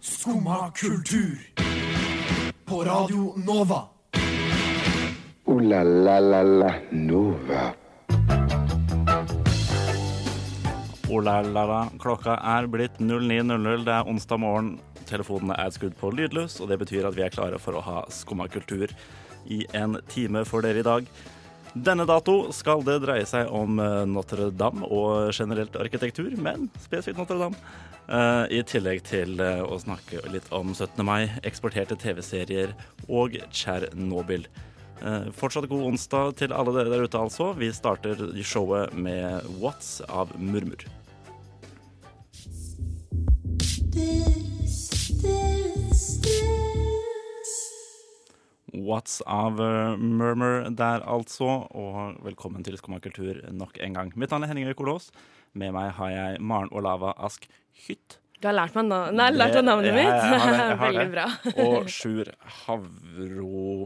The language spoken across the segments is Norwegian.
Skumma kultur. På Radio Nova. Ooh la la la la Nova. Olalala. Klokka er blitt 09.00. Det er onsdag morgen. Telefonene er skrudd på lydløs, og det betyr at vi er klare for å ha skumma kultur i en time for dere i dag. Denne dato skal det dreie seg om eh, Notre-Dame og generelt arkitektur, men spesifikt Notre-Dame. Eh, I tillegg til eh, å snakke litt om 17. mai, eksporterte TV-serier og Tsjernobyl. Eh, Fortsatt god onsdag til alle dere der ute, altså. Vi starter showet med What's av Murmur. What's of eh, Murmur der, altså. Og velkommen til Skumma kultur nok en gang. Mitt navn er Henning Øykolås. Med meg har jeg Maren Olava Ask Hytt. Du har lært meg, nav Nei, lært meg navnet Det- mitt. ja, ja, jeg har det, jeg har Veldig det. bra. Og Sjur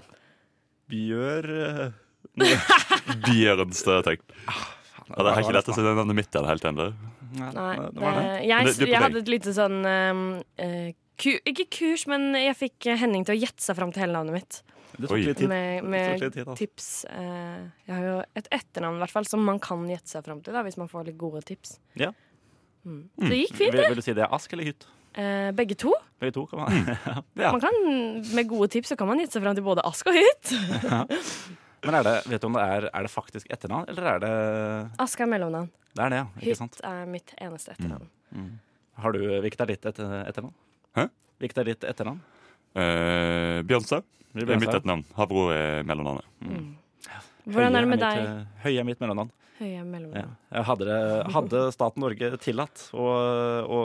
Havrobjør eh, Bjørnstø, tenk. Ja, det er ikke lett å si det navnet mitt igjen helt ennå. Nei, det det, var det. Men jeg, du- du er på jeg vei. hadde et lite sånn eh, eh, ku, Ikke kurs, men jeg fikk eh, Henning til å gjette seg fram til hele navnet mitt. Det Oi. tok litt tid. Med, Det tok med litt tid, altså. tips. eh, jeg har jo et etternavn i hvert fall som man kan gjette seg fram til, da, hvis man får litt gode tips. Ja. Mm. Det gikk Vil, fint, det. vil du si det er Ask eller Hytt? Eh, begge to. Begge to, kan Mm. man. Ja. Man kan, med gode tips så kan man gjette seg fram til både Ask og Hytt. Men er det, vet du om det er, er det faktisk etternavn, eller er det Ask er mellomnavn. Det er det, ja. Ikke sant? Mm. Hytt er mitt eneste etternavn. Har du, hvilket er ditt etter, etternavn? Hæ? Hvilket er ditt etternavn? Uh, Bjørnstø det er mitt etternavn. Havro er eh, mellomnavnet. Hvordan er det med Høie deg? mitt, eh, Høie er mitt mellomnavn. Høye er Ja. mellomnavn. Jeg Hadde, det- hadde staten Norge tillatt å, å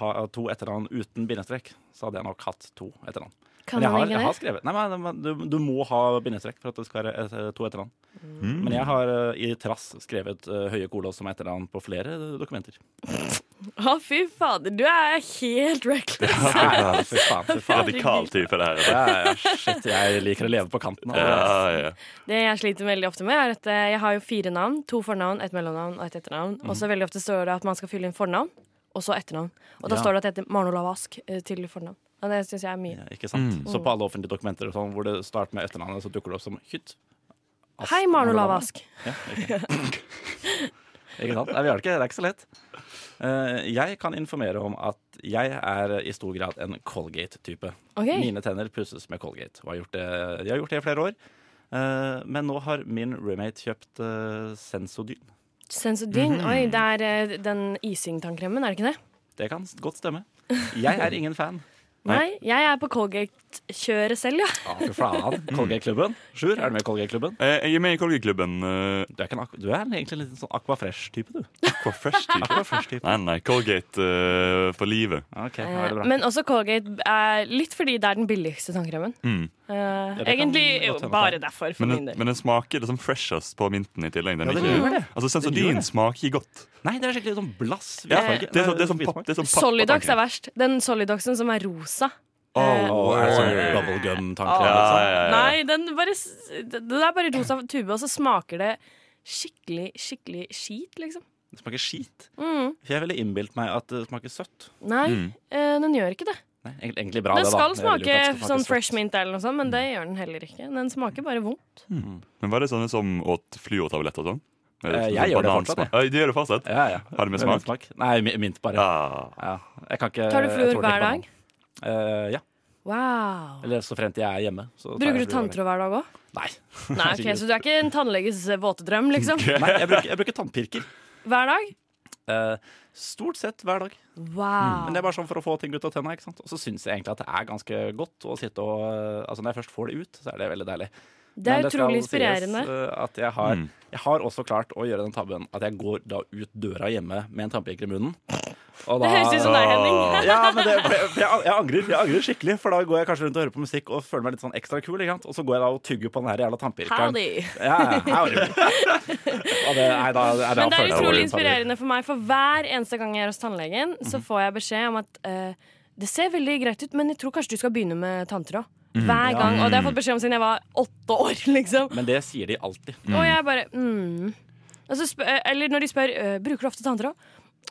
ha to etternavn uten bindestrek, så hadde jeg nok hatt to etternavn. Kan jeg har, man jeg har ikke det? skrevet Nei, men, men du, du må ha bindestrek for at det skal være et, to etternavn. Men jeg har eh, i trass skrevet eh, Høie Kolås som etternavn på flere eh, dokumenter. Å, fy fader, du er helt reckless. Nei, fy faen, fy faen. Radikal type, det her. altså. Ja, ja, shit, jeg liker å leve på kanten. Ja, Altså. ja. Det jeg sliter veldig ofte med, er at eh, jeg har jo fire navn. To fornavn, et mellomnavn og et etternavn. Og Mm. så veldig ofte står det at man skal fylle inn fornavn, og så etternavn. Og da Ja. står det at jeg heter Maren Olav Ask eh, til fornavn. Og det syns jeg er mye. Ja, ikke sant? Så på alle offentlige dokumenter og sånn, hvor det starter med etternavnet, så dukker det opp som Hytt. Ask. Hei, Maren Olav Ask. Ja, ikke. ikke sant? Nei, vi har det ikke. Det er ikke så lett. Eh, jeg kan informere om at jeg er i stor grad en Colgate-type. Ok. Mine tenner pusses med Colgate, og har gjort det, jeg har gjort det i flere år. Eh, men nå har min roommate kjøpt eh, Sensodyne. Mhm. Sensodyne. Oi, det er eh, den isingtannkremen, er det ikke det? Det kan godt stemme. Jeg er ingen fan. Nei, jeg er på Colgate-kjøret selv, ja. Ah, fy faen. Colgate-klubben. Sjur, er du med i Colgate-klubben? Eh, Jeg er med i Kolgeklubben. eh, Du, er ikke en aqu- du er egentlig en liten sånn Aqua Fresh-type, du. Aqua Fresh-type. Aqua Fresh-type. Nei, nei, Colgate eh, for livet. Ok, ja, det er bra. Men også Colgate er litt fordi det er den billigste tannkremen. Mm. Eh, det kan egentlig jo, godt hende. bare derfor, for Men min den, del. men den smaker liksom freshest på minten i tillegg. Den Ja, den ikke- gjør det. Den gjør Altså, Sensodyn det. smaker ikke godt. Nei, det er skikkelig sånn blass. Ja, hvitfarge. det er sånn, det er sånn, Nei, papp- det er sånn Solidox er verst. Den Solidoxen som er rosa. Eh, Oh, Å, er det sånn word. bubblegum-tanker? ja, liksom? ja, ja. Nei, den bare s- Den er bare rosa tube, og så smaker det skikkelig, skikkelig skit, liksom. Det smaker skit. Mm. For jeg ville innbilt meg at det smaker søtt. Nei, Mm. eh, den gjør ikke det. Nei, egentlig- egentlig bra, den det, da. skal Jeg ville smake jo at det skal sånn søtt. fresh mint eller noe sånt, men det gjør den heller ikke. Den smaker bare vondt. Men var det sånne som åt fluortabletter og sånn? Med Eh, sånn jeg gjør det banansmak? fortsatt, Eh, Du gjør det fortsatt? Ja, ja. Har det med smak? Nei, mi- mint bare. Ja. Ah. Jeg kan ikke Tar du jeg fluor tror hver ikke på dag? den. Eh, ja. Wow. Eller så fremt jeg er hjemme. så tar Bruker jeg du fluor. tanntråd hver dag òg? Nei. Nei, ok, så du er ikke en tannleges eh, våte drøm, liksom? Nei jeg, bruker, jeg bruker tannpirker. Hver dag? Eh, stort sett hver dag. Men det Wow. er bare sånn for å få ting ut av tenna. ikke sant? Og så syns jeg egentlig at det er ganske godt å sitte og eh, Altså når jeg først får det ut, så er det veldig deilig. Det Men er skal utrolig sies, inspirerende. eh, at jeg har, Mm. jeg har også klart å gjøre den tabben at jeg går da ut døra hjemme med en tannpirker i munnen. Og Det høres ut som deg, Henning. ja, men det, for jeg, for jeg, jeg, angrer, jeg angrer skikkelig, for da går jeg kanskje rundt og hører på musikk og føler meg litt sånn ekstra kul. Ikke sant? Og så går jeg da og tygger på den her jævla tannpirkeren. Howdy. Ja, ja, howdy. Og det, nei, da, nei, da Men føler det er jeg utrolig meg litt inspirerende for meg, for hver eneste gang jeg er hos tannlegen, Mhm. så får jeg beskjed om at eh, det ser veldig greit ut, men jeg tror kanskje du skal begynne med tanntråd. Mhm. Hver gang. Og det har jeg fått Mm. beskjed om siden jeg var åtte år, liksom. tabloid. Men det sier de alltid. mm. eh, Og jeg bare mm. Og så spør, Eller når de spør uh, Bruker du ofte tanntråd.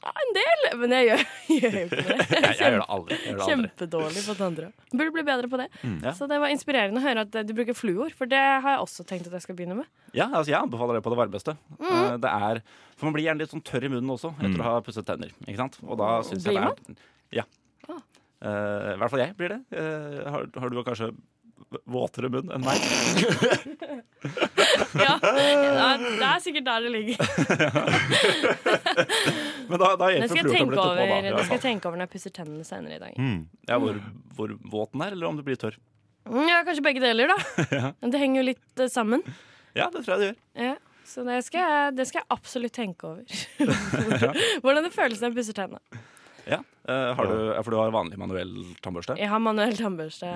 Ja, en del, men jeg gjør, gjør jo ikke det. Jeg, jeg gjør det aldri. Jeg gjør det aldri. Kjempedårlig på tantra. Burde bli bedre på det. Ja. Så det var inspirerende å høre at eh, du bruker fluor, for det har jeg også tenkt at jeg skal begynne med. Ja, altså, jeg anbefaler det på det varmeste. Eh, Mm. Det er, for man blir gjerne litt sånn tørr i munnen også etter å ha pusset tenner. Ikke sant? Og da syns jeg Blir det er Ja. Eh, I hvert fall jeg blir det. Eh, har, har du kanskje våtere munn enn meg? Ja, ja, Det er sikkert der det ligger. Men da, da Det hjelper skal jeg tenke fluortabletter på, da. Mm. over, i hvert det skal fall. jeg tenke over når jeg pusser tennene senere i dag. Ja, hvor, hvor våt den er, eller om du blir tørr. Mm, Ja, Kanskje begge deler, da. Men Det henger jo litt eh, sammen. Ja, det tror jeg det gjør. Ja, så det skal, jeg, det skal jeg absolutt tenke over. Hvordan det føles når jeg pusser tennene. Ja. Eh, har du, ja, for du har vanlig manuell tannbørste? Jeg har manuell tannbørste.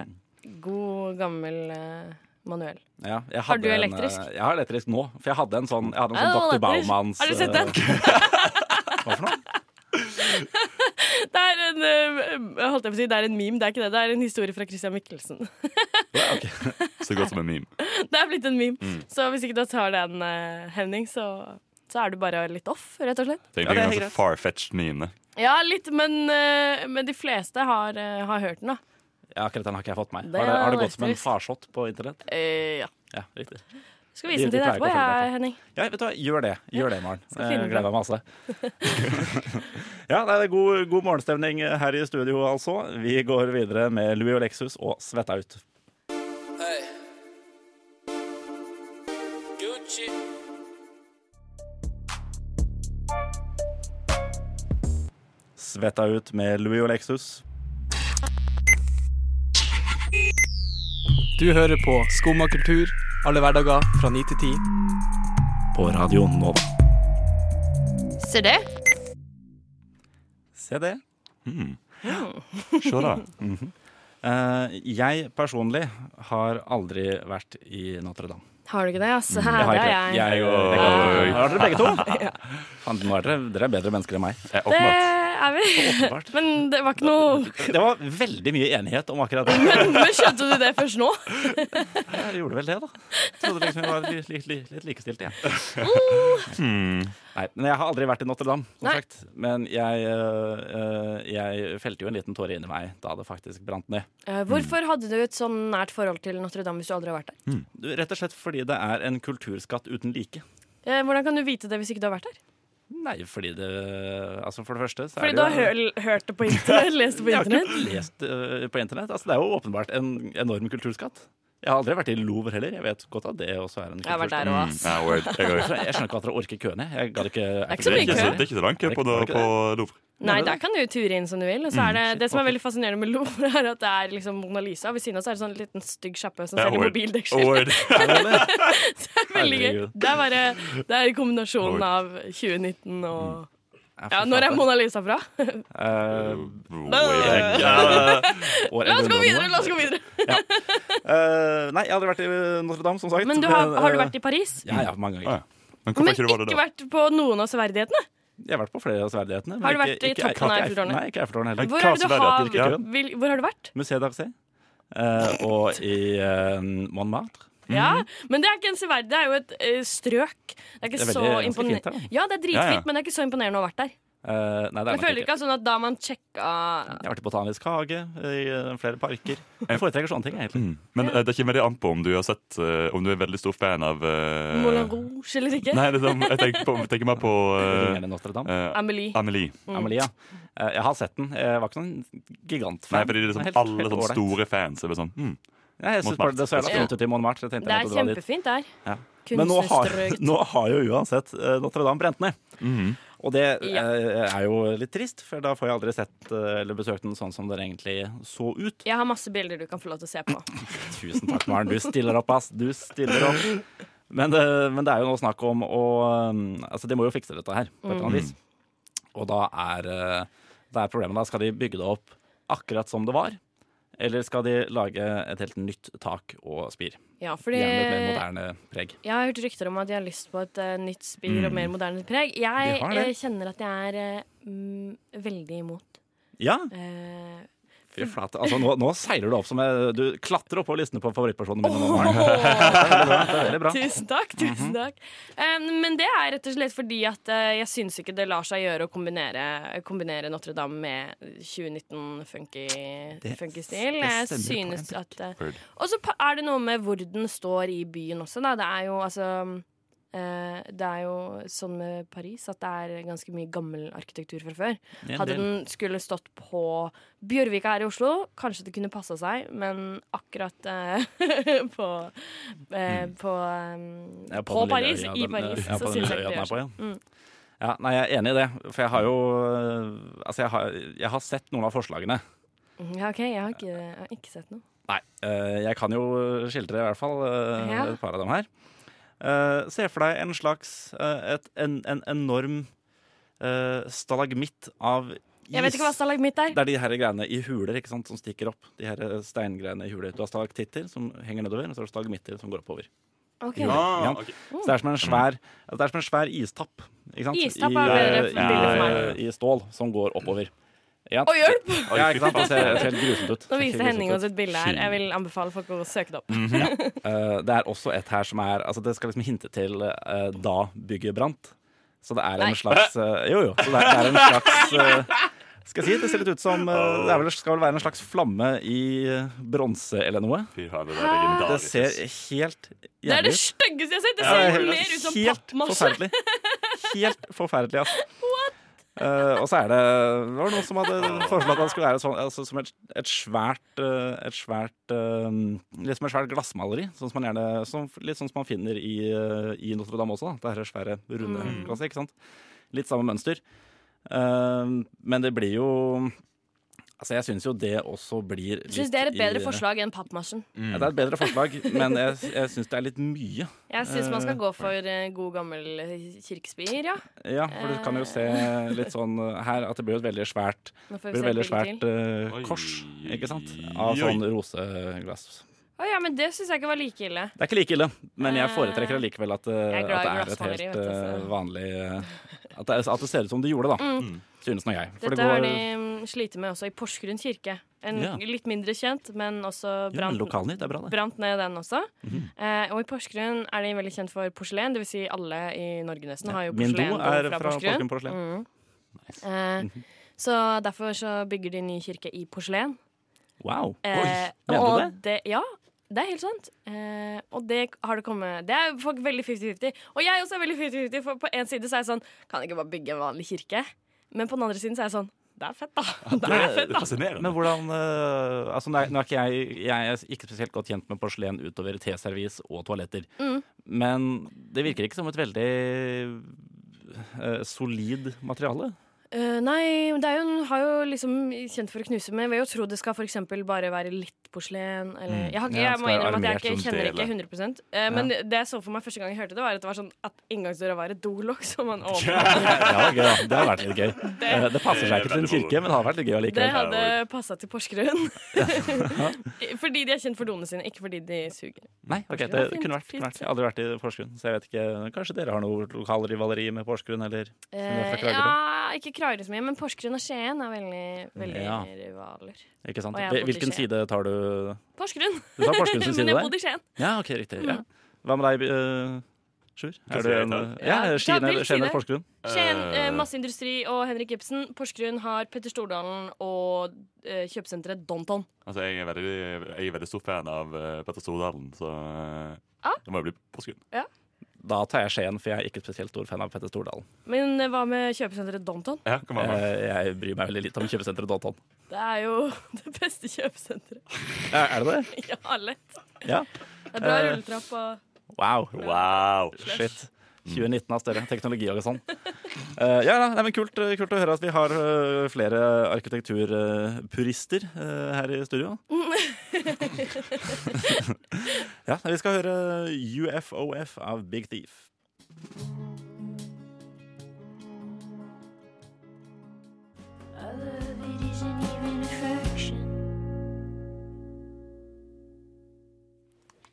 God, gammel eh, manuell. Ja, jeg Har du hadde en, elektrisk? eh, jeg har elektrisk nå, for jeg hadde en sånn, jeg hadde en Ja, sånn det var Dr. elektrisk. Baumans Har du sett eh, den? Hva for noe? Det er en eh, holdt jeg på å si, det er en meme, det er ikke det. Det er en historie fra Christian Michelsen. Ja, ok. Så godt som en meme. Det er blitt en meme. Mm. Så hvis ikke du tar den, eh, Henning, så, så er du bare litt off, rett og slett. Tenk Ja, det er deg greit. ganske far-fetched meme. Ja, litt, men, eh, men de fleste har, eh, har hørt den, da. Ja, akkurat den har ikke jeg fått meg. Det Har det, har det var gått som en elektrisk. farsott på internett? Eh, ja. Ja, riktig. Skal vise den De- de til deg pleier ikke å etterpå, følge jeg, deg. Henning. Ja, vet du hva, gjør det. Gjør det, Maren. skal Jeg finne gleder meg masse. ja, nei, det er god, god morgenstemning her i studio, altså. Vi går videre med Louis og Lexus og Svetta ut. Svetta ut med Louis og Lexus. Du hører på Skumma kultur alle hverdager fra 9 til 10. på Radio Nova. Se det. Se det. Se da. Eh, jeg personlig har aldri vært i Notre-Dame. Har du ikke det? Altså, Jeg har det ikke er det. jeg. Jeg og begge to. Har Oi. dere begge to? Faen, nå er dere, dere er bedre mennesker enn meg. Eh, Det Åpenbart. er vi. Åpenbart. Men det var ikke noe Det var veldig mye enighet om akkurat det. Men, men skjønte du det først nå? Jeg gjorde vel det, da. Trodde liksom vi var litt, litt, litt, litt likestilte, jeg. Hmm. Nei, men jeg har aldri vært i Notre-Dame, som Mm. Nei. sagt. Men jeg, eh, jeg felte jo en liten tåre inni meg da det faktisk brant ned. Eh, Hvorfor hadde du et sånn nært forhold til Notre-Dame hvis du aldri har vært der? Rett og slett fordi det er en kulturskatt uten like. Eh, Hvordan kan du vite det hvis ikke du har vært der? Nei, fordi det Altså, for det første så Fordi er du det har jo- hø- hørt det på internett? Lest det på Jeg har internett? ikke lest øh, på internett. Altså, det er jo åpenbart en enorm kulturskatt. Jeg har aldri vært i Louvre heller. Jeg vet godt at det også er en Jeg har vært kulturskatt. der òg, ass. Ja, word. Jeg har jo- Jeg skjønner ikke at dere orker køene. Jeg gadd ikke er ikke så Det er mye kø. ikke så- det er ikke så langt kø på, Var det ikke på Louvre. Nei, der kan du jo ture inn som du vil. Og så er det, det som er veldig fascinerende med Louvre, er at det er liksom Mona Lisa. og Ved siden av så er det sånn liten stygg kjappe som Ja, selger word. mobildeksel. Word. Det er veldig gøy. Herregud. Det er bare det er kombinasjonen Word. av 2019 og Jeg Ja, får når er faen Mona Lisa fra? Eh, Way back. Ja, år La oss gå 1100. videre! La oss gå videre. Eh, nei, jeg har aldri vært i Notre-Dame, som sagt. eh, Men du har, har du vært i Paris? Ja, ja, mange eh, Ja, ganger. ja. Men hvorfor Men ikke du var det ikke da? vært på noen av severdighetene? Jeg har vært på flere av sverdighetene. men Har du vært ikke- i ikke- toppen av ikke- Eiffeltårnet? Nei, ikke Eiffeltårnet heller. Nei, Hvor, er det du har, Kaseverdigheter, ikke vil, hvor har du vært? Museet d'Orsay. og i eh, Montmartre. Ja, Men det er ikke en severdighet, det er jo et eh, strøk. Det er ikke Det er så veldig- ganske fint her, imponerende. da. Ja, det er dritfint, Ja, ja. men det er ikke så imponerende å ha vært der. Eh, nei, det er Jeg nok føler ikke at sånn at da man sjekka Jeg har vært i Botanisk hage, i eh, flere parker. Jeg foretrekker sånne ting, egentlig. Men eh, det kommer det an på om du har sett eh, Om du er veldig stor fan av eh, Moulin Rouge eller ikke. Nei, det er sånn- jeg tenker, på, jeg tenker mer på Ringeren i Notre-Dame. eh, eh, Amelie. Amelie. Mm. Amelia. Eh, Jeg har sett den. Jeg var ikke sånn gigantfan. Nei, fordi det er sånn, Helt- alle helt sånne ålreit. store fans er bare sånn hm, Nei, jeg synes bare Montmartre. det så jævla fint ut i Montmartre. Jeg tenkte Det jeg måtte er dra dit. kjempefint der. Ja. Men nå har, Kunstnerstrøket. nå har jo uansett eh, Notre-Dame brent ned. Mm. Og det Ja. eh, er jo litt trist, for da får jeg aldri sett eh, eller besøkt den sånn som den egentlig så ut. Jeg har masse bilder du kan få lov til å se på. Tusen takk, Maren. Du stiller opp, ass. Du stiller opp. Men, eh, men det er jo nå snakk om å eh, Altså, de må jo fikse dette her på et eller annet vis. Og da er, eh, da er problemet da. Skal de bygge det opp akkurat som det var? Eller skal de lage et helt nytt tak og spir? Ja, fordi Gjerne et mer jeg moderne preg. har hørt rykter om at de har lyst på et eh, nytt spir og mer moderne preg. Jeg De har Mm. det. eh, kjenner at jeg er eh, mm, veldig imot. Ja, Eh, Fy flate. Altså, nå, nå seiler du opp som jeg, Du klatrer opp på listene på favorittpersonene mine. nå, Maren. Åh! Det er veldig bra, det er veldig bra. Mhm. Tusen takk. tusen takk um, Men det er rett og slett fordi at eh, jeg syns ikke det lar seg gjøre å kombinere, kombinere Notre-Dame med 2019 funky, Det- funky stil. det Jeg stemmer på en synes at eh, Word. Og så pa- er det noe med hvor den står i byen også, da. Det er jo altså eh, Det er jo sånn med Paris at det er ganske mye gammel arkitektur fra før. En Hadde del. den skulle stått på Bjørvika her i Oslo, kanskje det kunne passa seg, men akkurat eh, på eh, på, eh, Mm. Ja, på, den lille Paris, øya i den- Paris, ja, på så Mm. den lille syns øya jeg ikke det den er gjør seg. på, ja. Ja, nei, jeg er enig i det, for jeg har jo øh, Altså, jeg har, jeg har sett noen av forslagene. Mm, Ja, OK, jeg har ikke, jeg har ikke sett noe. Nei, øh, jeg kan jo skildre i hvert fall øh, Ja. et par av dem her. Eh, se for deg en slags øh, et, en, en enorm øh, stalagmitt av is. Jeg vet ikke hva stalagmitt er. Det er de her greiene i huler ikke sant, som stikker opp. De her eh, steingreiene i huler. Du har stalaktitter som henger nedover, og så har du stalagmitter som går oppover. Ok. Ja, Ja. ok. Så det er som en svær, det er som en svær istapp. Ikke sant? Istapp I, er bedre eh, bilde for meg. I, I stål som går oppover. Ja, Å, hjelp! ja ikke sant? Det ser, det ser helt grusomt ut. Nå Det ser viser grusomt Henning ut. oss et bilde her. Jeg vil anbefale folk å søke det opp. Eh, det er også et her som er altså Det skal liksom hinte til eh, da bygget brant. Så det er en Nei. slags eh, Jo, jo. Så det er, det er en slags eh, skal jeg si, Det ser litt ut som eh, Det er vel, skal vel være en slags flamme i eh, bronse eller noe. Fy faen, det der er Det legendarisk. ser helt Det er jævlig det ut. styggeste jeg har sett! Det Ja, ser helt- mer ut som Helt pappmasje. forferdelig. Helt forferdelig, ass. Eh, og så er det Det var noen som hadde foreslått at det skulle være sånn, altså, som et, et svært eh, Et svært eh, Litt som et svært glassmaleri. Sånn som man gjerne, som, litt sånn som man finner i, eh, i Notre-Dame også. Da. Det her svære, runde Mm. glasset. Ikke sant? Litt samme mønster. Eh, men det blir jo Altså, jeg syns jo det også blir litt Jeg syns det er et bedre i- forslag Mm. enn pappmasjen. Ja, det er et bedre forslag, men jeg, jeg syns det er litt mye. Jeg syns man Eh, skal gå for eh, god gammel kirkespier, ja. Ja, for du kan jo se litt sånn eh, her at det blir et veldig svært, Nå får blir et vi se et veldig bilde svært til. eh, Oi, kors, ikke sant? Av oi. sånn roseglass. Å ja, men det syns jeg ikke var like ille. Det er ikke like ille, men jeg Eh, foretrekker allikevel at, eh, jeg er glad at det i er et glassmaleri, helt vet du, eh, så- Mm. vanlig eh, at det, er- at det ser ut som det gjorde, da. Mm. Synes nå jeg. For Dette det går har de mm, slitt med også i Porsgrunn kirke. En Ja. litt mindre kjent, men også ja, Mhm. brant, Lokalnytt er bra, det. brant ned den også. eh, og i Porsgrunn er de veldig kjent for porselen. Det vil si alle i Norge nesten har jo Min do porselen er fra, fra Porsgrunn Mhm. porselen. Mm. Eh, så derfor så bygger de ny kirke i porselen. Wow. Eh, mener du og det? Ja, det er helt sant. Eh, og det har det kommet Det er folk veldig 50-50. Og jeg også er veldig 50-50, for på en side så er jeg sånn Kan jeg ikke bare bygge en vanlig kirke? Men på den andre siden så er jeg sånn Det er fett, da. Det er fett, da. Men Fascinerende. hvordan eh, Altså, nå er, nå er ikke jeg, jeg er ikke spesielt godt kjent med porselen utover teservis og toaletter. Mm. Men det virker ikke som et veldig eh, solid materiale. Eh, nei, det er jo, den har jo liksom kjent for å knuse med. Vil jo tro det skal for eksempel bare være litt porselen. Eller, jeg, har, Mm. Ja, ikke- det jeg må skal være innrømme at jeg armert ikke, som kjenner dele. ikke 100 eh, Men det, det jeg så for meg første gang jeg hørte det, var at det var sånn at inngangsdøra var et dolokk. som man åpnet. Ja, det, var gøy, da. det har vært litt gøy. Eh, Det passer seg ikke til en kirke, men det har vært litt gøy Det allikevel. hadde passa til Porsgrunn. fordi de er kjent for donene sine, ikke fordi de suger. Nei, ok, det Porsgrunn, kunne vært. fint. Kunne vært. Jeg har aldri vært i Porsgrunn, så jeg vet ikke Kanskje dere har noe lokal rivaleri med Porsgrunn, eller er fra Eh, Kragerø? ja, ikke Kragerø så mye, men Porsgrunn og Skien er veldig, veldig Ja. rivaler. Ikke sant? Og jeg har bodd i Hvilken Skien. side tar du? Porsgrunn! Du tar Porsgrunns side men jeg der? bodde i Skien. Ja, ok, riktig. Ja. Hva med deg, eh, Sjur? Hva Er skal du jeg en, ta? ja, Ja, Skien ta eller hvilken Skien side? eller Porsgrunn? Skien, Eh. eh, Masseindustri og Henrik Ibsen. Porsgrunn har Petter Stordalen og eh, kjøpesenteret Donton. Altså, jeg er veldig, jeg er veldig stor fan av eh, Petter Stordalen, så eh, Ah. det må jo bli Porsgrunn. Da tar jeg Skien, for jeg er ikke spesielt stor fan av Petter Stordalen. Men eh, hva med kjøpesenteret Donton? Ja, kom an. Eh, Jeg bryr meg veldig litt om kjøpesenteret Dalton. Det er jo det beste kjøpesenteret. Ja, er det det? Ja, lett. Ja. Det er bra Eh. rulletrapp og Wow. Wow. Shit. 2019 av større teknologi og sånn. Eh, ja, nei, men kult, eh, kult å høre at vi har eh, flere arkitekturpurister eh, her i studio. ja, vi skal høre UFOF av Big Thief.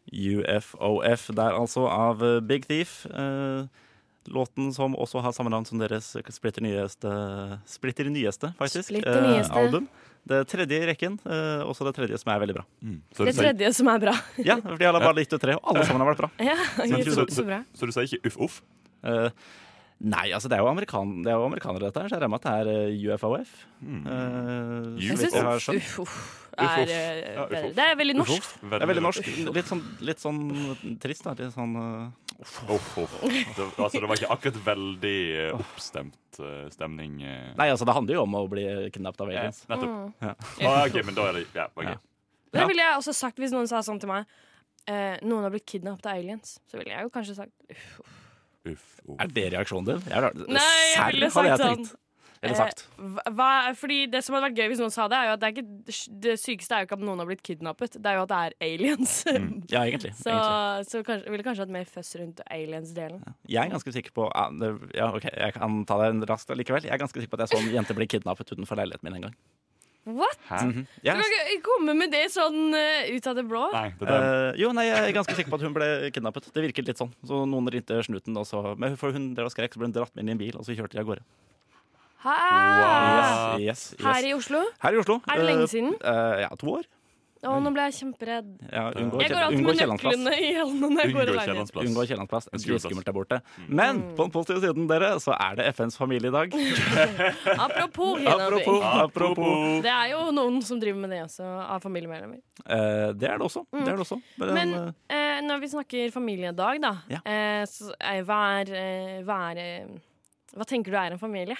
UFOF der altså, av eh, Big Thief. Eh, låten som også har samme navn som deres splitter nyeste, splitter nyeste faktisk, Splitter nyeste. Eh, album. Det tredje i rekken, eh, også det tredje som er veldig bra. Mm. Så, Det du sier, tredje som er bra. Ja, fordi jeg har bare likt ut tre, og alle sammen har vært bra. Ja, Men så, så- så, bra. så du sier ikke uff uff? Eh, nei, altså det er jo, amerikan, det er jo amerikanere dette her, så jeg regner med at det er eh, UFOF. Eh, Jeg så Jeg vidt syns jeg har uff, skjønt. uff Uff, er uff. eh, Ja, uff, bedre. uff. Det er veldig Uff, norsk. uff. Det er veldig norsk. Litt sånn, litt sånn trist, da. Litt sånn eh, Uff, uff. Det, altså, det var ikke akkurat veldig eh, oppstemt eh, stemning. eh. Nei, altså det handler jo om å bli kidnappet av aliens. Mm. Nettopp. Ja. Ah, ok, men da er det ja, ok. Ja. Det Ja. ville jeg også sagt hvis noen sa sånn til meg. eh, noen har blitt kidnappet av aliens. Så ville jeg jo kanskje sagt uff. Uff, uff. Er det reaksjonen din? Jeg, Nei, jeg ville Serr, hadde sagt tenkt. sånn. Eller eh, sagt. hva, hva- fordi Det som hadde vært gøy hvis noen sa det, er jo at det, er ikke, det sykeste er jo ikke at noen har blitt kidnappet, det er jo at det er aliens. Ja, egentlig. så egentlig. så kanskje, ville kanskje hatt mer føss rundt aliens-delen. Jeg er ganske sikker på ja, det- ja, ok, Jeg kan ta det raskt likevel. Jeg er ganske sikker på at jeg så en jente bli kidnappet utenfor leiligheten min en gang. What?! Hæ? Jeg Du er kan ikke komme med det sånn eh, ut av det blå. Nei, det der Eh, jo, nei, jeg er ganske sikker på at hun ble kidnappet. Det virket litt sånn. Så noen ringte snuten, og så Men for hun drev og skrek, så ble hun dratt med inn i en bil, og så kjørte de av gårde. Hæ? Ah. Yes, yes. Her i Oslo? Her i Oslo. Er det lenge Eh, siden? eh, ja, to år. Å, nå ble jeg kjemperedd. Eh. Ja, unngå Jeg går alltid unngå med Kiellandsplass. nøklene i hendene når jeg går i unngår leiligheten. Kiellandsplass. Unngå Kiellandsplass. En Mm. skueplass. Dritskummelt der borte. Men på Mm. den positive siden dere, så er det FNs familiedag. Apropos Apropos. kidnapping. apropos. Det er jo noen som driver med det også, av familiemedlemmer. Eh, det er det også. Det er det også. Men, Mm. Men eh, eh, når vi snakker familiedag, da, Ja. eh, så eh, hva er, eh, hva, er eh, hva tenker du er en familie?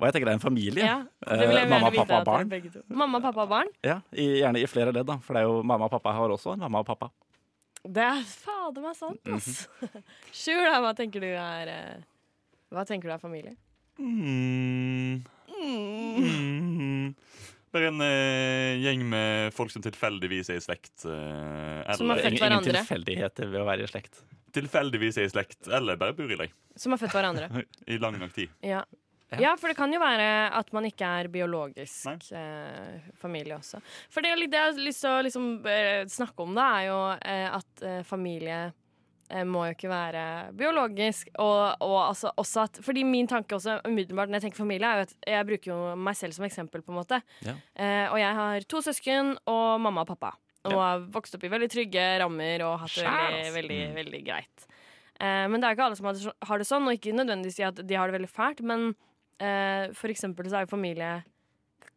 hva jeg tenker er en familie. Ja, det vil jeg Eh, gjerne mamma, vite pappa at og det er barn. begge to. Mamma, pappa og barn? Ja, i, gjerne i flere ledd, da. For det er jo mamma og pappa har også en mamma og pappa. Det er fader meg sant, Mhm. ass. Sjur, da, hva tenker du er eh, Hva tenker du er familie? Mm. Mm. Det er en eh, gjeng med folk som tilfeldigvis er i slekt. eh, eller, Som har født Ingen, ingen hverandre. tilfeldigheter ved å være i slekt. tilfeldigvis er i slekt, eller bare bor i leg Som har født hverandre. i lang nok tid. Ja. ja, for det kan jo være at man ikke er biologisk eh, familie også. For det, er litt- det jeg har lyst til å liksom, eh, snakke om, da, er jo eh, at eh, familie eh, må jo ikke være biologisk. Og, og altså, også at, fordi min tanke også umiddelbart når jeg tenker familie, er jo at jeg bruker jo meg selv som eksempel. på en måte. Ja. Eh, og jeg har to søsken og mamma og pappa. Og har vokst opp i veldig trygge rammer og hatt det veldig, veldig, veldig greit. Eh, men det er jo ikke alle som har det så- har det sånn, og ikke nødvendigvis si at de har det veldig fælt. Men eh, for eksempel så er jo familie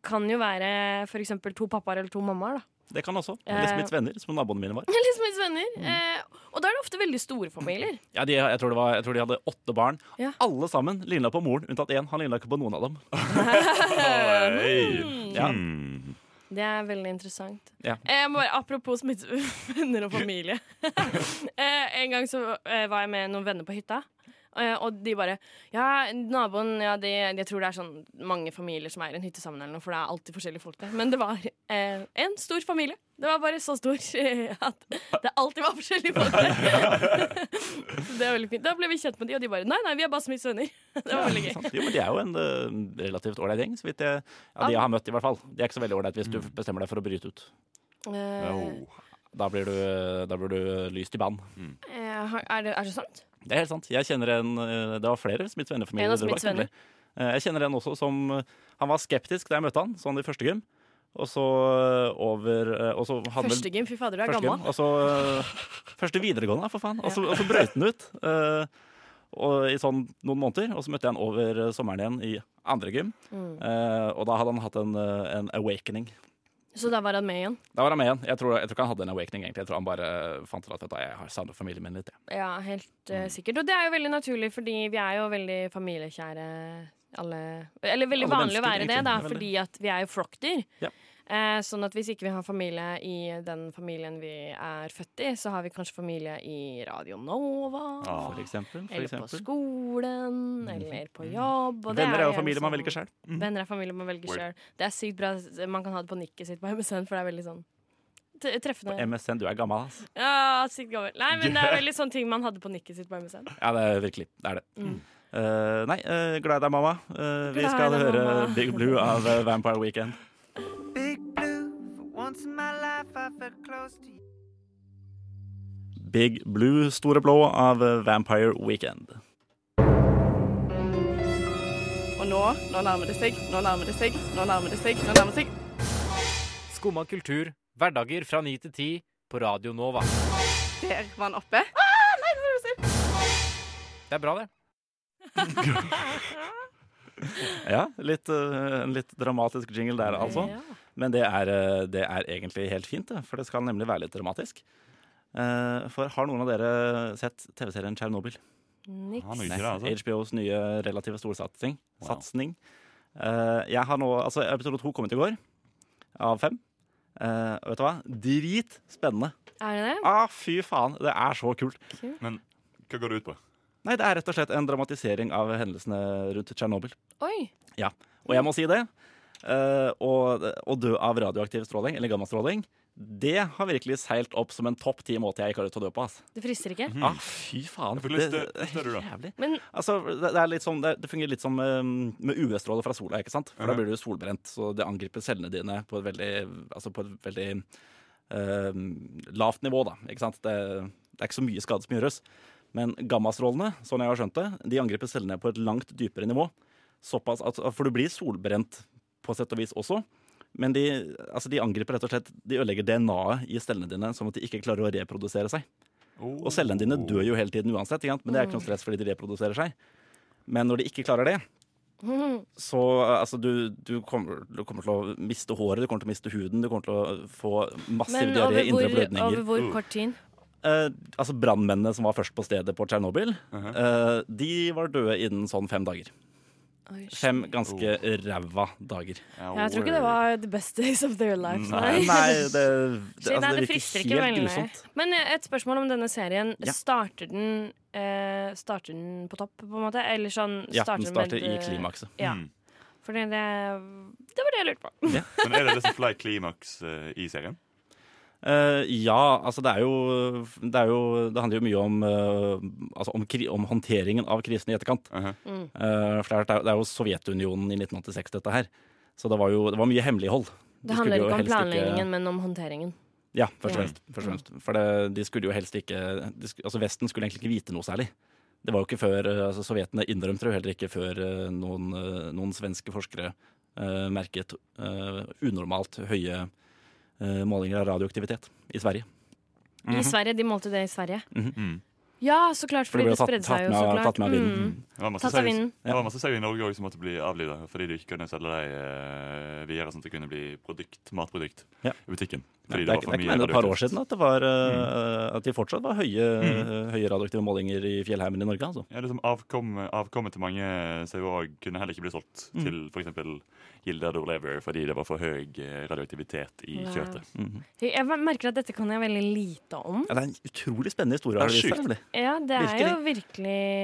kan jo være for eksempel to pappaer eller to mammaer. da. Det kan også. Eller Eh. Smiths venner, som naboene mine var. Eller som mine venner. Eh, og da er det ofte veldig store familier. Ja, de, jeg, tror det var, jeg tror de hadde åtte barn. Ja. Alle sammen ligna på moren, unntatt én. Han ligna ikke på noen av dem. Oi. Ja. Mm. Det er veldig interessant. Ja. Eh, Jeg må bare, apropos smitt- venner og familie. eh, en gang så eh, var jeg med noen venner på hytta. eh, Og de bare Ja, naboen ja, de, Jeg tror det er sånn mange familier som er i en hytte sammen, eller noe, for det er alltid forskjellige folk der. Men det var eh, en stor familie. Det var bare så stor eh, at det alltid var forskjellige folk der. Så det var veldig fint. Da ble vi kjent med de, og de bare Nei, nei, vi er bare Smiths venner. Det var veldig gøy. Sant? Jo, men De er jo en eh, relativt ålreit gjeng, så vidt jeg, ja, de jeg har møtt. i hvert fall De er ikke så veldig ålreit hvis du bestemmer deg for å bryte ut. Eh, Oh. Da blir du, eh, da blir du lyst i band. eh, har- er, det, er det sant? Det er helt sant. Jeg kjenner en eh, Det var flere Smiths vennefamilier. En av det var Smiths venner. ikke veldig. Eh, Jeg kjenner en også som eh, Han var skeptisk da jeg møtte han, sånn i første gym. Og så eh, over eh, og så hadde vel- Første gym, fy fader, du er første gammel. gym, Og så eh, første videregående, for faen. Og så, og så brøyt han ut eh, og, i sånn noen måneder. Og så møtte jeg han over eh, sommeren igjen i andre gym. Mm. Eh, og da hadde han hatt en, eh, en awakening. Så da var han med igjen? Da var han med igjen. Jeg tror, jeg tror ikke han hadde en awakening, egentlig. Jeg tror han bare eh, fant ut at vet du hva, jeg har savnet familien min litt. jeg. Ja, helt eh, sikkert. Og det er jo veldig naturlig, fordi vi er jo veldig familiekjære alle Eller veldig Alle vanlig å være mennesker, det, da, egentlig. fordi at vi er jo flokkdyr. Ja. Eh, sånn at hvis ikke vi har familie i den familien vi er født i, så har vi kanskje familie i Radio Nova. For eksempel. For Eller på eksempel. Mhm. skolen, eller på jobb. og det Venner er jo gjerne familie man sånn- velger Mhm. sjøl. Venner er familie man velger Word. sjøl. Det er sykt bra. Man kan ha det på nikket sitt på MSN, for det er veldig sånn t- treffende. MSN, du er gammel, ass. Ja, sykt gammel. Nei, men det er veldig sånne ting man hadde på nikket sitt på MSN. Ja, det er virkelig. Det er det. Eh, nei, eh, glad i deg, mamma. Eh, vi Mm. Glad i skal deg, høre mamma. Big Blue av eh, Vampire Weekend. Big blue. For once in my life, I felt close to you. Big Blue, Store Blå av eh, Vampire Weekend. Og nå, nå nærmer det seg, nå nærmer det seg, nå nærmer det seg, nå nærmer det seg. Skumma kultur, hverdager fra 9 til 10 på Radio Nova. Der var han oppe. Det er bra, det. Ja, litt, eh, en litt dramatisk jingle der, altså. Ja. Men det er, eh, det er egentlig helt fint, det, for det skal nemlig være litt dramatisk. Eh, For har noen av dere sett TV-serien Tsjernobyl? Han Niks. er jo ikke det, altså. HBOs nye relative storsatsing. Wow. Satsning. Eh, jeg har nå, altså Episode to kom ut i går, av fem. Eh, og vet du hva? Dritspennende. Er det det? Ah, fy faen, det er så kult. Men hva går det ut på? Nei, Det er rett og slett en dramatisering av hendelsene rundt Tsjernobyl. Oi. Og jeg må si det. eh, og å dø av radioaktiv stråling, eller gammastråling, det har virkelig seilt opp som en topp ti måte jeg ikke har lyst til å dø på. ass. Det frister ikke. Ah, fy faen. Hmm. Jeg får lyst til- det, det lyst til er å dø, da. helt jævlig. Men Altså, det, det, er litt sånn, det, det fungerer litt som eh, med UV-stråler fra sola, ikke sant? For da Mhm. blir du solbrent, så det angriper cellene dine på et veldig, altså på et veldig eh, lavt nivå, da. Ikke sant? Det, det er ikke så mye skade som gjøres. Men gammastrålene, sånn jeg har skjønt det, de angriper cellene på et langt dypere nivå. Såpass at, for du blir solbrent på sett og vis også. Men de, altså de angriper rett og slett De ødelegger DNA-et i cellene dine, sånn at de ikke klarer å reprodusere seg. Og cellene dine dør jo hele tiden uansett, ikke sant? men det er ikke noe stress fordi de reproduserer seg. Men når de ikke klarer det, så eh, altså, du, du, kommer, du kommer til å miste håret, du kommer til å miste huden, du kommer til å få massiv Men diaré, over indre hvor, blødninger. Uh. over hvor kort tid? Eh, altså Brannmennene som var først på stedet på Tsjernobyl, eh, de var døde innen sånn fem dager. Oi, shit. Fem ganske ræva dager. Jeg tror ikke det var the best days of their lives. Nei, det, det, Shit, altså, det nei, det virker frister ikke helt veldig. grusomt. Men eh, et spørsmål om denne serien. Ja. Starter den eh, Starter den på topp, på en måte? Eller sånn Ja, den med starter i det- klimakset. Ja, Mm. for det, det var det jeg lurte på. Men er det liksom fly klimaks eh, i serien? Eh, ja, altså det er, jo, det er jo Det handler jo mye om, eh, altså om, kri om håndteringen av krisen i etterkant. Mhm. Mm. Eh, for det er, det er- det er jo Sovjetunionen i 1986, dette her. Så det var jo det var mye hemmelighold. De skulle Det handler jo ikke om helst planleggingen, men om håndteringen. Ja, først og Ja. fremst. Først og fremst. For det, de skulle jo helst ikke de sku- Altså Vesten skulle egentlig ikke vite noe særlig. Det var jo ikke før, eh, altså Sovjetene innrømte det jo heller ikke før eh, noen, eh, noen svenske forskere eh, merket eh, unormalt høye eh, målinger av radioaktivitet i Sverige. Mhm. I Sverige, De målte det i Sverige. Mm. Ja, så klart, For det ble fordi det, jo tatt, spredde tatt, seg jo med, så av- klart. tatt med av vinden. Mm. Det var masse Tatt av sau- vinden. Det var masse sau i Norge også som måtte bli avlivet fordi de ikke kunne selge dem eh, videre, sånn at det kunne bli produkt, matprodukt Ja. i butikken. Det Fordi er, ikke- det er ikke mer enn et par år radioaktivt. siden at det, var, eh, at de fortsatt var høye, eh, høye radioaktive målinger i fjellheimen i Norge. Altså. Ja, liksom avkom, avkommet til mange sauer også kunne heller ikke bli solgt Mm. til f.eks. Gilder Lever fordi det var for høy eh, radioaktivitet i Wow. kjøttet. Jeg merker at dette kan jeg veldig lite om. Ja, det er en utrolig spennende historie. Det er har vist seg, sjukt. nemlig. Ja, det er jo virkelig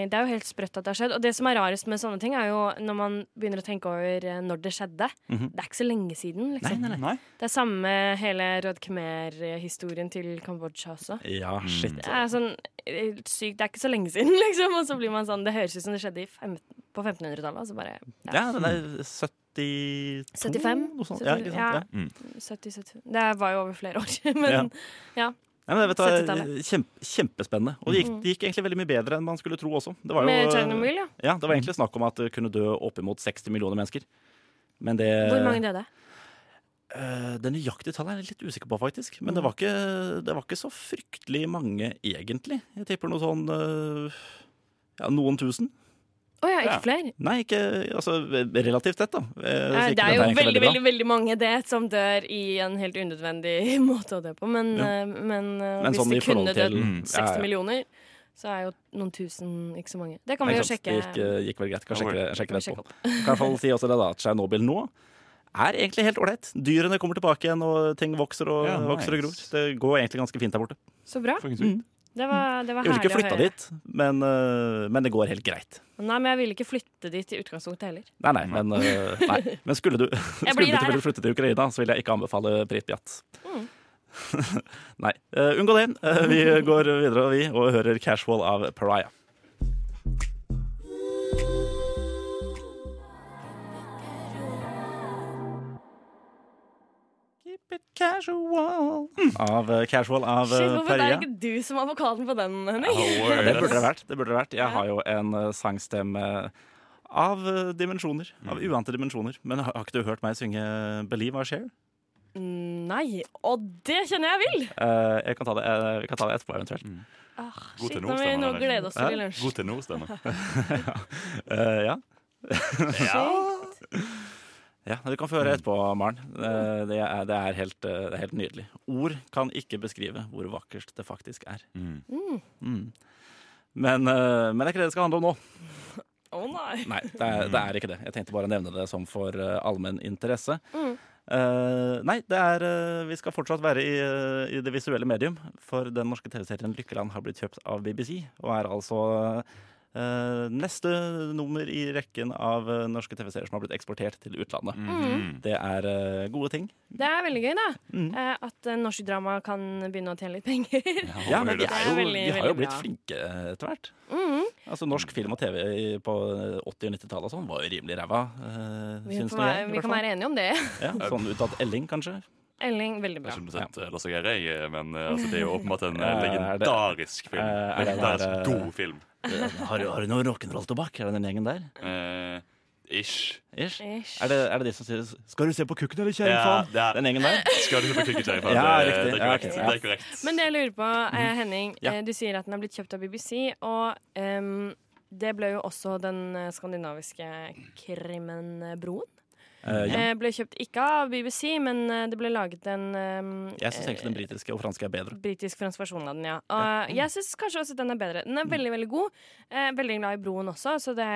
Det er jo helt sprøtt at det har skjedd. Og det som er rarest med sånne ting, er jo når man begynner å tenke over eh, når det skjedde. Mhm. Det er ikke så lenge siden. Liksom. Nei, nei, nei. Det er samme hele Rød Khmer-historien til Kambodsja også. Ja, shit. Det er sånn eh, sykt Det er ikke så lenge siden, liksom. Og så blir man sånn Det høres ut som det skjedde i fem, på 1500-tallet, og så bare Ja, den er Mm. 72 75? Noe sånt. Ja, ikke sant? Ja. 70-70 Det var jo over flere år, men Ja. Nei, men vet du, hva, 70-tallet. kjempe, kjempespennende. Og det gikk, det gikk egentlig veldig mye bedre enn man skulle tro også. Det var, Mm. med jo, Chernobyl, ja. ja, det var egentlig Mm. snakk om at det kunne dø oppimot 60 millioner mennesker. Men det, Hvor mange døde? Eh, det nøyaktige tallet er jeg litt usikker på, faktisk. Men Mm. det var ikke, det var ikke så fryktelig mange, egentlig. Jeg tipper noe sånn eh, ja, noen tusen. Å ja, Ja. ikke flere? Nei, ikke altså, relativt sett, da. Eh, så Nei, ikke det dette er jo egentlig veldig, bra. veldig veldig mange det som dør i en helt unødvendig måte å dø på. Men, Ja. eh, men, eh, Men hvis sånn de i forhold kunne til- dødd Mm. 60 Ja, ja. millioner, så er jo noen tusen ikke så mange. Det kan Nei, vi jo ikke sant. Det sjekke. gikk, eh, gikk vel greit. Kan Ja, sjekke, vel. det- sjekke Kan det sjekke etterpå. Kan i hvert fall si også det da, at Tsjernobyl nå er egentlig helt ålreit. Dyrene kommer tilbake igjen, og ting vokser og, Ja, nice. vokser og gror. Det går egentlig ganske fint der borte. Så bra. Fucking sykt. Det var, det var Jeg ville herlig ikke å flytta høre. dit, men, eh, men det går helt greit. Nei, men jeg ville ikke flytte dit i utgangspunktet heller. Nei, nei, men, eh, nei. men skulle du, skulle blir du her, tilfeldigvis flytte til Ukraina, så vil jeg ikke anbefale Pripjat. Mm. nei, eh, unngå det. Eh, vi går videre, og vi, og hører Casual av Pariah. Keep it casual Av eh, Casual av Shit, eh, hvorfor er det Pariah. ikke du som har vokalen på den, Henning? Ja, det burde det vært. Det burde det vært. Jeg har jo en eh, sangstemme av eh, dimensjoner. Av uante dimensjoner. Men har har ikke du hørt meg synge 'Believe I Share'? Nei. nei, og det kjenner jeg vil! Eh, jeg kan ta det, eh, vi kan ta det etterpå, eventuelt. Ah, God shit, til nå må vi nå Nordstrand, glede oss til i lunsj. God til nå, Steinar. Eh, ja. ja. Du kan få høre etterpå, Maren. Eh, det, er, det, er helt, eh, det er helt nydelig. Ord kan ikke beskrive hvor vakkert det faktisk er. Mm. Mm. Men, eh, men det er ikke det det skal handle om nå. Å nei. Nei, det er, det er ikke det. Jeg tenkte bare å nevne det som for eh, allmenn interesse. Mm. Eh, nei, det er, eh, vi skal fortsatt være i, eh, i det visuelle medium, for den norske TV-serien Lykkeland har blitt kjøpt av BBC, og er altså eh, neste nummer i rekken av eh, norske TV-serier som har blitt eksportert til utlandet. Mhm. Det er eh, gode ting. Det er veldig gøy, da. Mm. Eh, at eh, norsk drama kan begynne å tjene litt penger. Ja, håper men de, det. er er jo, veldig, de har jo veldig blitt bra. flinke eh, etter hvert. Mm. Altså Norsk film og TV i- på 80- og 90-tallet og sånn var jo rimelig ræva, eh, Vi, syns får nå jeg. i være, vi hvert kan fall. være enige om det. Ja, sånn utad Elling, kanskje. Elling, veldig Jeg bra. har ikke sett eh, Lasse Geire, jeg, men eh, altså, det er jo åpenbart en eh, Eh, er det- legendarisk film. Eh, er det Legendarisk der, eh, god film. Har, har du noe rock'n'roll-tobakk? Er det den gjengen der? Eh, ish. Ish? Ish. Er, det, er det de som sier 'skal du se på kukken eller, kjære Ja, faen'? det er, Den gjengen der? skal du se på Kukketerri? Ja, det, riktig. det er Ja, korrekt. ok, Det ja. er korrekt. Men det jeg lurer på, eh, Henning. Mhm. Ja. Eh, du sier at den har blitt kjøpt av BBC, og ehm, det ble jo også den eh, skandinaviske krimenbroen. Eh, ja. Eh, ble kjøpt ikke av BBC, men eh, det ble laget en ehm, Jeg syns egentlig eh, den britiske og franske er bedre. Britisk-fransk versjon av den, ja. Og jeg syns kanskje også den er bedre. Den er veldig veldig god. Eh, veldig glad i broen også, så, det,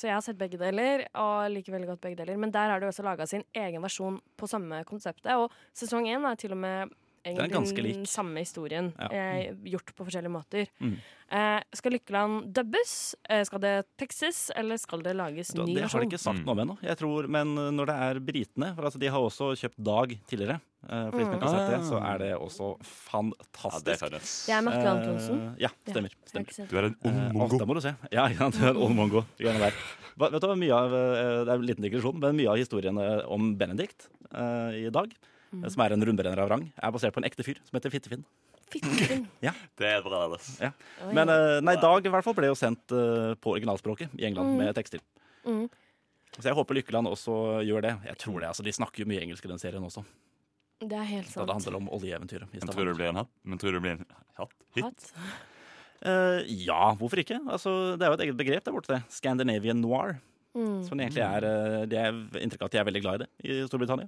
så jeg har sett begge deler. Og liker veldig godt begge deler. Men der har de også laga sin egen versjon på samme konseptet. Og sesong én er til og med er ganske egentlig den lik. samme historien, Ja. eh, gjort på forskjellige måter. Mm. Eh, skal Lykkeland dubbes? Eh, skal det tekstes, eller skal det lages Da- ny Det har de versjon? ikke sagt noe om ennå, jeg tror, men eh, når det er britene For altså, de har også kjøpt Dag tidligere. Eh, For de som ikke har sett det, så er det også Ja, det er fantastisk. fabulous. Det er Marte Antonsen. Eh, ja, stemmer. Jeg har stemmer. ikke sett Du er en ond Eh, mongo. Å, da må du se. Ja, ikke sant? En ond mongo. De greiene der. Hva- Vet du, hva, mye av, eh, det er en liten digresjon, men mye av historiene om Benedikt eh, i dag, eh, Mm. som er en rundbrenner av rang, er basert på en ekte fyr som heter Fittefinn. Fitten. Det er bra, Anders. Oi. Men eh, nei, Dag i hvert fall ble jo sendt eh, på originalspråket i England med tekster. Mm. Så jeg håper Lykkeland også gjør det. Jeg tror det, altså, De snakker jo mye engelsk i den serien også, det er helt da det sant. handler om oljeeventyret. i Men Stavanger. tror du det blir en hatt? Men tror du det blir en hatt? Hit? Hatt. Eh, ja, hvorfor ikke? Altså, det er jo et eget begrep der borte. det. Scandinavian noir. Mm. Som egentlig er, eh, de er inntrykk av at de er veldig glad i det i Storbritannia.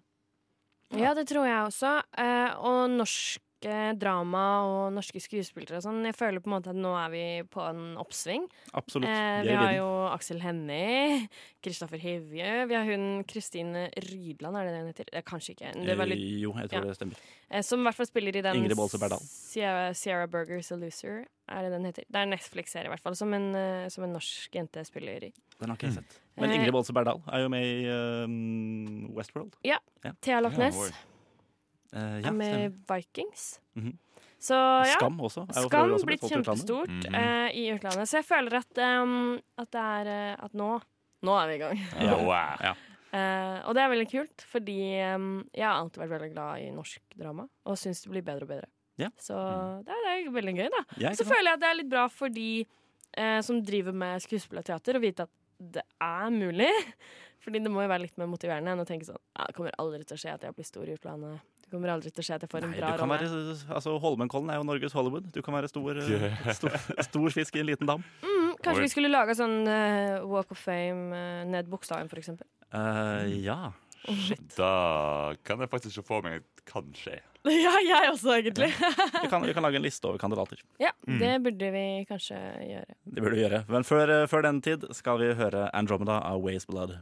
Ja, det tror jeg også. Eh, og norske drama og norske skuespillere og sånn. Jeg føler på en måte at nå er vi på en oppsving. Absolutt. Eh, De vi er i har vinden. jo Aksel Hennie, Kristoffer Hivje Vi har hun Kristine Rydland, er det det hun heter? Eh, kanskje ikke. Det var litt, Eh, Jo, jeg tror ja. det stemmer. eh, som i hvert fall spiller i den Ingrid Bolse Berdal. Sierra, Sierra Burgers A Loser, er det den heter? Det er en Netflix-serie, i hvert fall, som en, eh, som en norsk jente spiller i. Den har ikke jeg sett. Eh, Men Ingrid Bolse Berdal er jo med i eh, Westworld. Thea Lochnes Ja, oi. Eh, ja, er med i stemmer. Vikings. Mhm. Så ja. Skam også. er jo for Skam øvrig også blitt solgt i utlandet. kjempestort Mhm. eh, i utlandet. Så jeg føler at, em, at det er eh, At nå Nå er vi i gang. Ja, wow. Eh, og det er veldig kult, fordi em, jeg har alltid vært veldig glad i norsk drama. Og syns det blir bedre og bedre. Ja. Så det, er, det er veldig gøy, da. Ja, ikke Så sant? føler jeg at det er litt bra for de eh, som driver med skuespill og teater, å vite at det er mulig. Fordi det må jo være litt mer motiverende enn å tenke sånn «Ja, Det kommer aldri til å skje at jeg blir stor i utlandet. Det kommer aldri til å skje at jeg får en Nei, bra du kan rolle. være, altså Holmenkollen er jo Norges Hollywood. Du kan være stor, eh, stor, stor fisk i en liten dam. Mm, kanskje Oi. vi skulle laga sånn eh, Walk of Fame eh, ned Bogstadveien, for eksempel. Mm. Eh, ja. Da kan jeg faktisk ikke få meg et kanskje. ja, jeg også, egentlig. Vi kan, vi kan lage en liste over kandidater. ja, Mm. det burde vi kanskje gjøre. Det burde vi gjøre. Men før, eh, før den tid skal vi høre Andromeda av Ways Blood.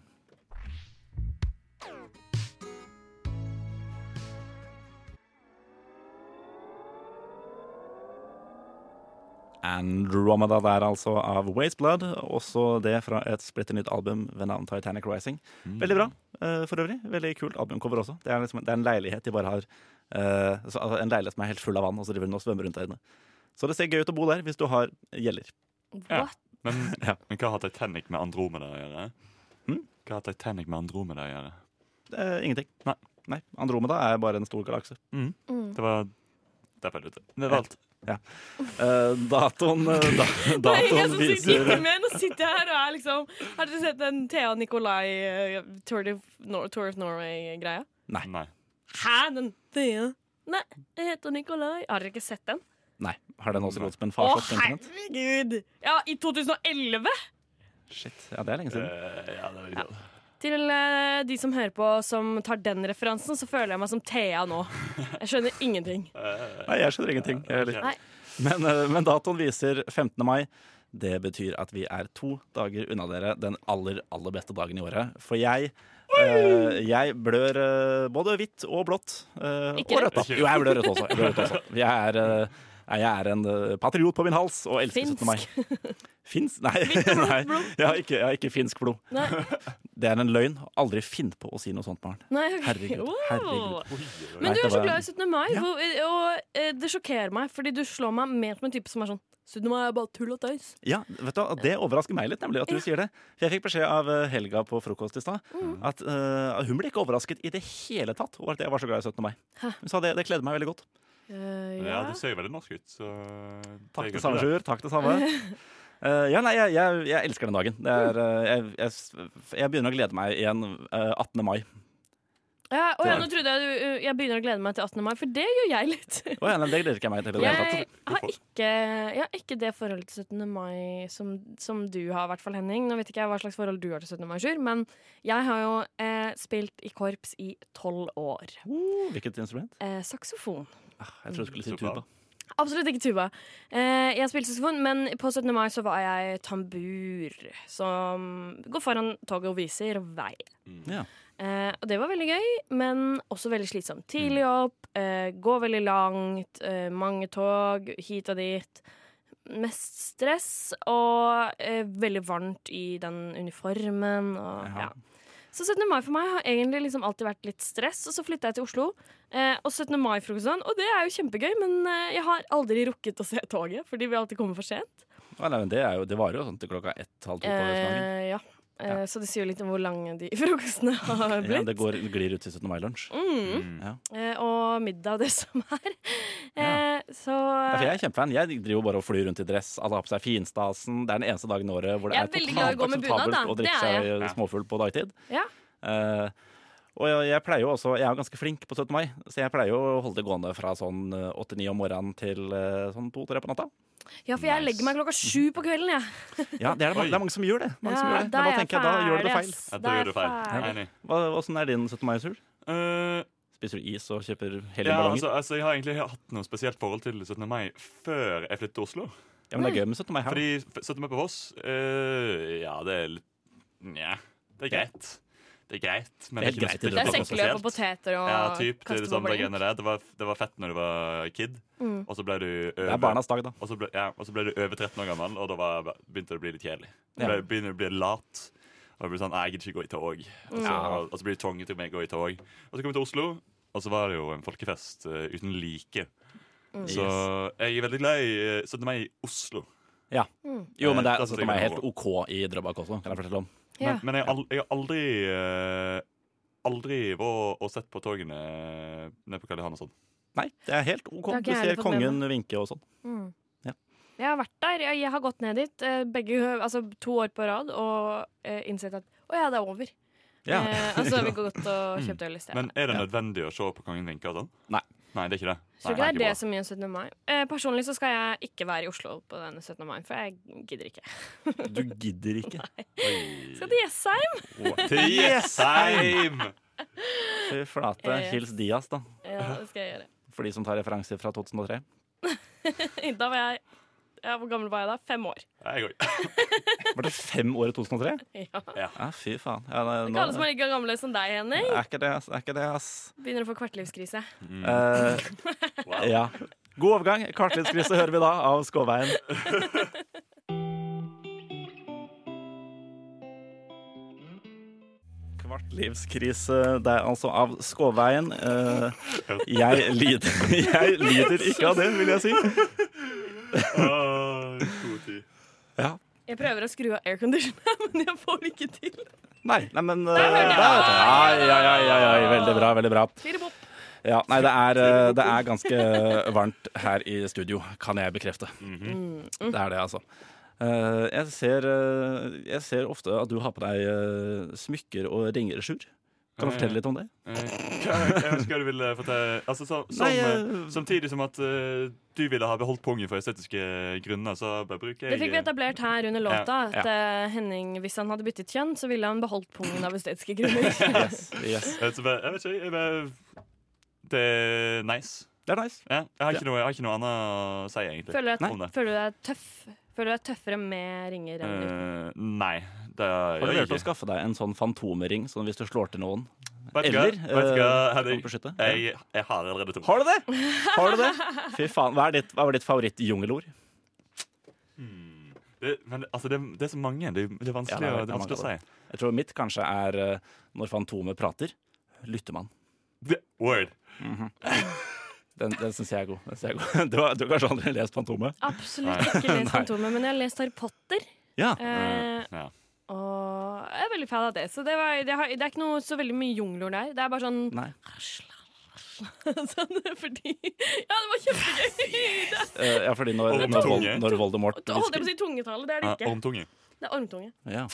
Andromeda der altså av Ways Blood. Også det fra et splitter nytt album ved navn Titanic Rising. Veldig bra eh, for øvrig. Veldig kult albumcover også. Det er, liksom, det er en leilighet de bare har eh, så, altså, En leilighet som er helt full av vann, og så driver den og svømmer rundt der inne. Så det ser gøy ut å bo der hvis du har gjeller. Ja. What? Men, Ja. men hva har Titanic med Andromeda å gjøre? Hm? Hva har Titanic med Andromeda å gjøre? Eh, ingenting. Nei. Nei. Andromeda er bare en stor galakse. Mm. Det var Der falt det ut. Det var alt. Eh, datoen eh, da, Det er ingen datoen som sitter viser ikke med, nå sitter jeg her og er liksom Har dere sett den Thea Nikolai eh, Tour, of Nor Tour of Norway-greia? Mm. Nei. Hæ, den Thea? Nei, jeg heter Nikolai. Har dere ikke sett den? Nei. Har den også gått som en Å, farsott? på internett? herregud! Ja, i 2011! Shit, ja, det er lenge siden. Eh, ja, det er veldig bra. Til eh, de som hører på som tar den referansen, så føler jeg meg som Thea nå. Jeg skjønner ingenting. Nei, jeg skjønner ingenting. Jeg heller. Nei. Men, eh, men datoen viser 15. mai. Det betyr at vi er to dager unna dere den aller, aller beste dagen i året. For jeg eh, jeg blør eh, både hvitt og blått. eh, Ikke og rødt. rødt, da. Jo, jeg blør rødt også. Jeg, blør rødt også. jeg, er, eh, jeg er en eh, patriot på min hals og elsker 17. mai. Fins? Nei, nei. Jeg, har ikke, jeg har ikke finsk blod. Nei. Det er en løgn. Aldri finn på å si noe sånt, barn. Nei, ok. Herregud, Wow. herregud. Men Nei, du det er så var- glad i 17. mai, Ja. hvor- og eh, det sjokkerer meg, fordi du slår meg mer som en type som er sånn 17. mai er bare tull og tøys. Ja, vet du, hva, Det overrasker meg litt, nemlig at du sier det. For Jeg fikk beskjed av eh, Helga på frokost i stad Mm. at eh, hun ble ikke overrasket i det hele tatt over at jeg var så glad i 17. mai. Hæ? Hun sa det, det kledde meg veldig godt. Eh, Ja, ja. det ser jo veldig norsk ut. Så Takk tenker det samme, jeg Sjur. Takk det samme. Eh, ja, nei, jeg, jeg, jeg elsker den dagen. Det er, eh, jeg, jeg, s- jeg begynner å glede meg igjen eh, 18. mai. Ja, å ja, nå trodde jeg du, eh, jeg begynner å glede meg til 18. mai, for det gjør jeg litt. Å ja, nei, det gleder ikke jeg meg til. i det hele tatt. Jeg har ikke, jeg har ikke det forholdet til 17. mai som, som du har, i hvert fall, Henning. Nå vet ikke jeg hva slags forhold du har til 17. mai, Sjur, men jeg har jo eh, spilt i korps i tolv år. Oh, Hvilket instrument? Eh, saksofon. Ah, Jeg trodde du skulle si Tuba. tuba. Absolutt ikke tuba. Eh, jeg spilte saksofon, men på 17. mai så var jeg tambur, som går foran toget og viser vei. Ja. Eh, og det var veldig gøy, men også veldig slitsomt. Tidlig Mm. opp, eh, gå veldig langt, eh, mange tog hit og dit. Mest stress og eh, veldig varmt i den uniformen. Og, Jaha. ja. Så 17. mai for meg har egentlig liksom alltid vært litt stress, og så flytta jeg til Oslo. Eh, og 17. mai-frokosten, og det er jo kjempegøy, men eh, jeg har aldri rukket å se toget, fordi vi alltid kommer for sent. Å, nei, men det, er jo, det varer jo sånn til klokka ett, halv to på dagen. Eh, ja. Eh, Så det sier jo litt om hvor lange de frokostene har blitt. Ja, det går, glir ut til 17. mai-lunsj. Mm. Ja. Eh, og middag og det som er. Eh, så Ja, for jeg er kjempefan. Jeg driver jo bare og flyr rundt i dress. Alle har på seg finstasen. Det er den eneste dagen i året hvor det Jeg er er veldig glad i å totalt gå med bunad, akseptabelt da. å drikke Det er seg småfull på dagtid. Ja. Eh, og jeg, jeg pleier jo også Jeg er jo ganske flink på 17. mai, så jeg pleier jo å holde det gående fra sånn eh, 8-9 om morgenen til eh, sånn 2-3 på natta. ja, for jeg legger meg klokka sju på kvelden, jeg. Ja, det er det, mange- det er mange som gjør det. Mm. Mange som Ja, gjør det. Men da er da jeg tenker jeg, da gjør du det ferdig, feil. ass. Ja, Da da er gjør du feil. jeg ferdig. Enig. Hva, hvordan er din 17. mai-sur? Eh, Spiser du is og kjøper hele ja, ballonger? altså, altså, jeg har egentlig hatt noe spesielt forhold til 17. mai før jeg flyttet til Oslo. Ja, men det er gøy med 17. mai her. Fordi 17. mai på Voss eh, Ja, det er litt Nja, det er greit. Det er greit, men Det er ikke noe greit i spesielt Det er Klokka sekkeløp og spesielt. poteter og Ja, typ, det, er kaste det, samme bowling. greiene der. det, var, det var fett når du var kid, Mm. og så ble du Det er barnas dag, da. Og så ble, ja, og så ble du over 13 år gammel, og da var, begynte det å bli litt kjedelig. Du Ja. ble- Begynner å bli lat. Og det blir sånn, «Nei, Jeg gidder ikke gå i tog. Og så, og så blir det tvunget til meg å gå i tog. Og så kom vi til Oslo, og så var det jo en folkefest eh, uten like. Mm. Så jeg er veldig glad i eh, 17. mai i Oslo. Ja. Jo, men det Eh, er, 17. mai er helt det OK i Drøbak også, kan jeg fortelle om. Ja. Men, men jeg, har al- jeg har aldri eh, Aldri vært og sett på togene nede på Karl Johan og sånn. Nei, det er helt OK. Det har ikke Du jeg heller ser fått med kongen vinke og sånn. Mm. Ja. Jeg har vært der. Jeg, jeg har gått ned dit eh, begge, altså, to år på rad og eh, innsett at å ja, det er over. Ja. Eh, altså, vi går godt og kjøpt øl i stedet. Mm. Men er det Ja. nødvendig å se på Kongen vinke og sånn? Nei. Nei, det er ikke det. Så Nei, ikke det er bra. det som gjør 17. mai. Eh, personlig så skal jeg ikke være i Oslo på denne 17. mai, for jeg gidder ikke. Eh. Du gidder ikke. Skal til Jessheim! Til Jessheim! Fy flate. Eh. Hils Dias, da. Ja, det skal jeg gjøre. For de som tar referanser fra 2003. Da var jeg ja, Hvor gammel var jeg da? Fem år. Jeg går. Var det fem år i 2003? Ja. Ja, fy faen. Ja, det, Det nå, er ikke alle som er like gamle som deg, Henning. er ikke det, ass. Er ikke det, ass. Begynner å få kvartlivskrise. Eh, ja. God overgang. Kartlivskrise hører vi da av Skåveien. Kvartlivskrise, det er altså av Skåveien. Eh, jeg, lider, jeg lider ikke av det, vil jeg si. Jeg prøver å skru av airconditionen, men jeg får det ikke til. Nei, nei men eh, hørte jeg. der, ja, ja, ja, ja, ja, veldig bra, veldig bra. Firebopp. Ja, nei, det er, eh, det er ganske eh, varmt her i studio, kan jeg bekrefte. Mhm. Det er det, altså. Eh, Jeg ser, eh, jeg ser ofte at du har på deg eh, smykker og ringer, Sjur. Kan du fortelle litt om det? Eh, Hva hva ønsker du ville fortelle altså, så, som, Nei, eh, eh, Samtidig som at eh, du ville ha beholdt pungen for estetiske grunner, så bare bruker jeg Det fikk vi etablert her under låta, Ja, at eh, Henning, hvis han hadde byttet kjønn, så ville han beholdt pungen av estetiske grunner. Yes. Jeg vet så bare- eh, jeg vet ikke. Jeg bare, det er nice. Det er nice. Ja, jeg, har ikke noe, jeg har ikke noe annet å si, egentlig. Føler du, Om at, det. føler du deg tøff? Føler du deg tøffere med ringer enn uten? Eh, nei, det gjør Har du jeg vurdert å ikke. skaffe deg en sånn fantomering, sånn hvis du slår til noen? Vet du hva? Eller Vet du hva, eh, Henning? kan du beskytte? Ja. Jeg, jeg har allerede to. Har du det? Har du det? Fy faen. Hva, er ditt, hva var ditt favorittjungelord? Det, men altså, det, det er så mange. Det, det er Ja, vanskelig, det er å- det er veldig vanskelig å si. Jeg tror mitt kanskje er eh, når Fantomet prater, lytter man. Det, word. Den, den syns jeg er god. Den synes jeg er god. Du, har, du har kanskje aldri lest Fantomet? Absolutt ikke lest Fantomet, men jeg har lest Harry Potter. Ja. Eh, Ja. og jeg er veldig fan av det. Så det, var, det, har, det er ikke noe så veldig mye jungelord der. Det er bare sånn Nei. sånn fordi Ja, det var kjempegøy! Eh, ja, fordi når, Og når, Vol- tunge. når Voldemort Da holdt jeg på å hvisker si tungetale. Det er Ja, det ikke. Ormtunge. Det er ormtunge. ja.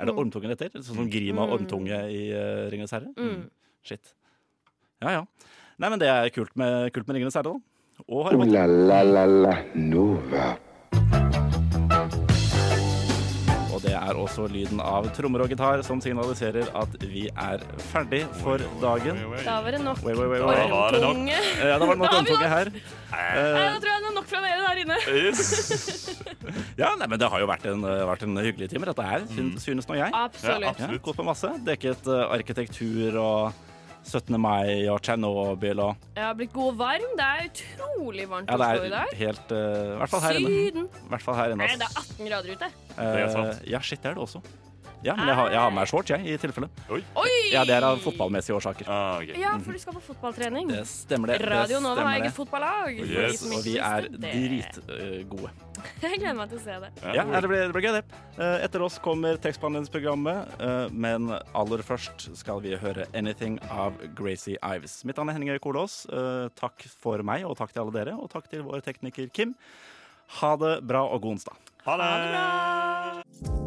Er det ormtungen etter? Sånn som Grima og ormtunge i uh, 'Ringenes herre'? Mm. Shit. Ja ja. Nei, men det er kult med, kult med 'Ringenes herre', da. Og Harry Ooh Potter. la la la la Nova. Og det er også lyden av trommer og gitar som signaliserer at vi er ferdig for dagen. Oi, oi, oi. Da var det nok Wait, wait, wait, wait. var det nok. ormtunge. Eh, Ja, da var det nok Da har vi omtoget her. Nei, Eh, Da tror jeg det er nok fra dere der inne. Yes. ja, nei, men det har jo vært en, eh, vært en hyggelig time, dette her, syn- synes nå jeg. Ja, Absolutt. Ja, absolutt. gått på masse. Dekket eh, arkitektur og 17. mai og Tsjernobyl og Jeg har blitt god og varm. Det er utrolig varmt Ja, i det Oslo i er dag. helt eh, I hvert fall her inne. Syden. I hvert fall her inne. Nei, det er ass. 18 grader ute. er sant. Eh, ja, shit, det er det også. Ja, men jeg har, jeg har med shorts, jeg, i tilfelle. Oi! Ja, det er av fotballmessige årsaker. Ah, ok. Ja, for du skal på fotballtrening. Det stemmer det. det Mm. Radio Nova har stemmer det. eget fotballag. for de Yes. som Og ikke vi er visste det. dritgode. Jeg gleder meg til å se det. Ja, nei, det blir, det blir gøy, det. Eh, Etter oss kommer tekstbehandlingsprogrammet, eh, men aller først skal vi høre 'Anything' av Gracie Ives. Mitt navn er Henning Øy Kolås. Eh, Takk for meg, og takk til alle dere. Og takk til vår tekniker Kim. Ha det bra og god onsdag. Ha det!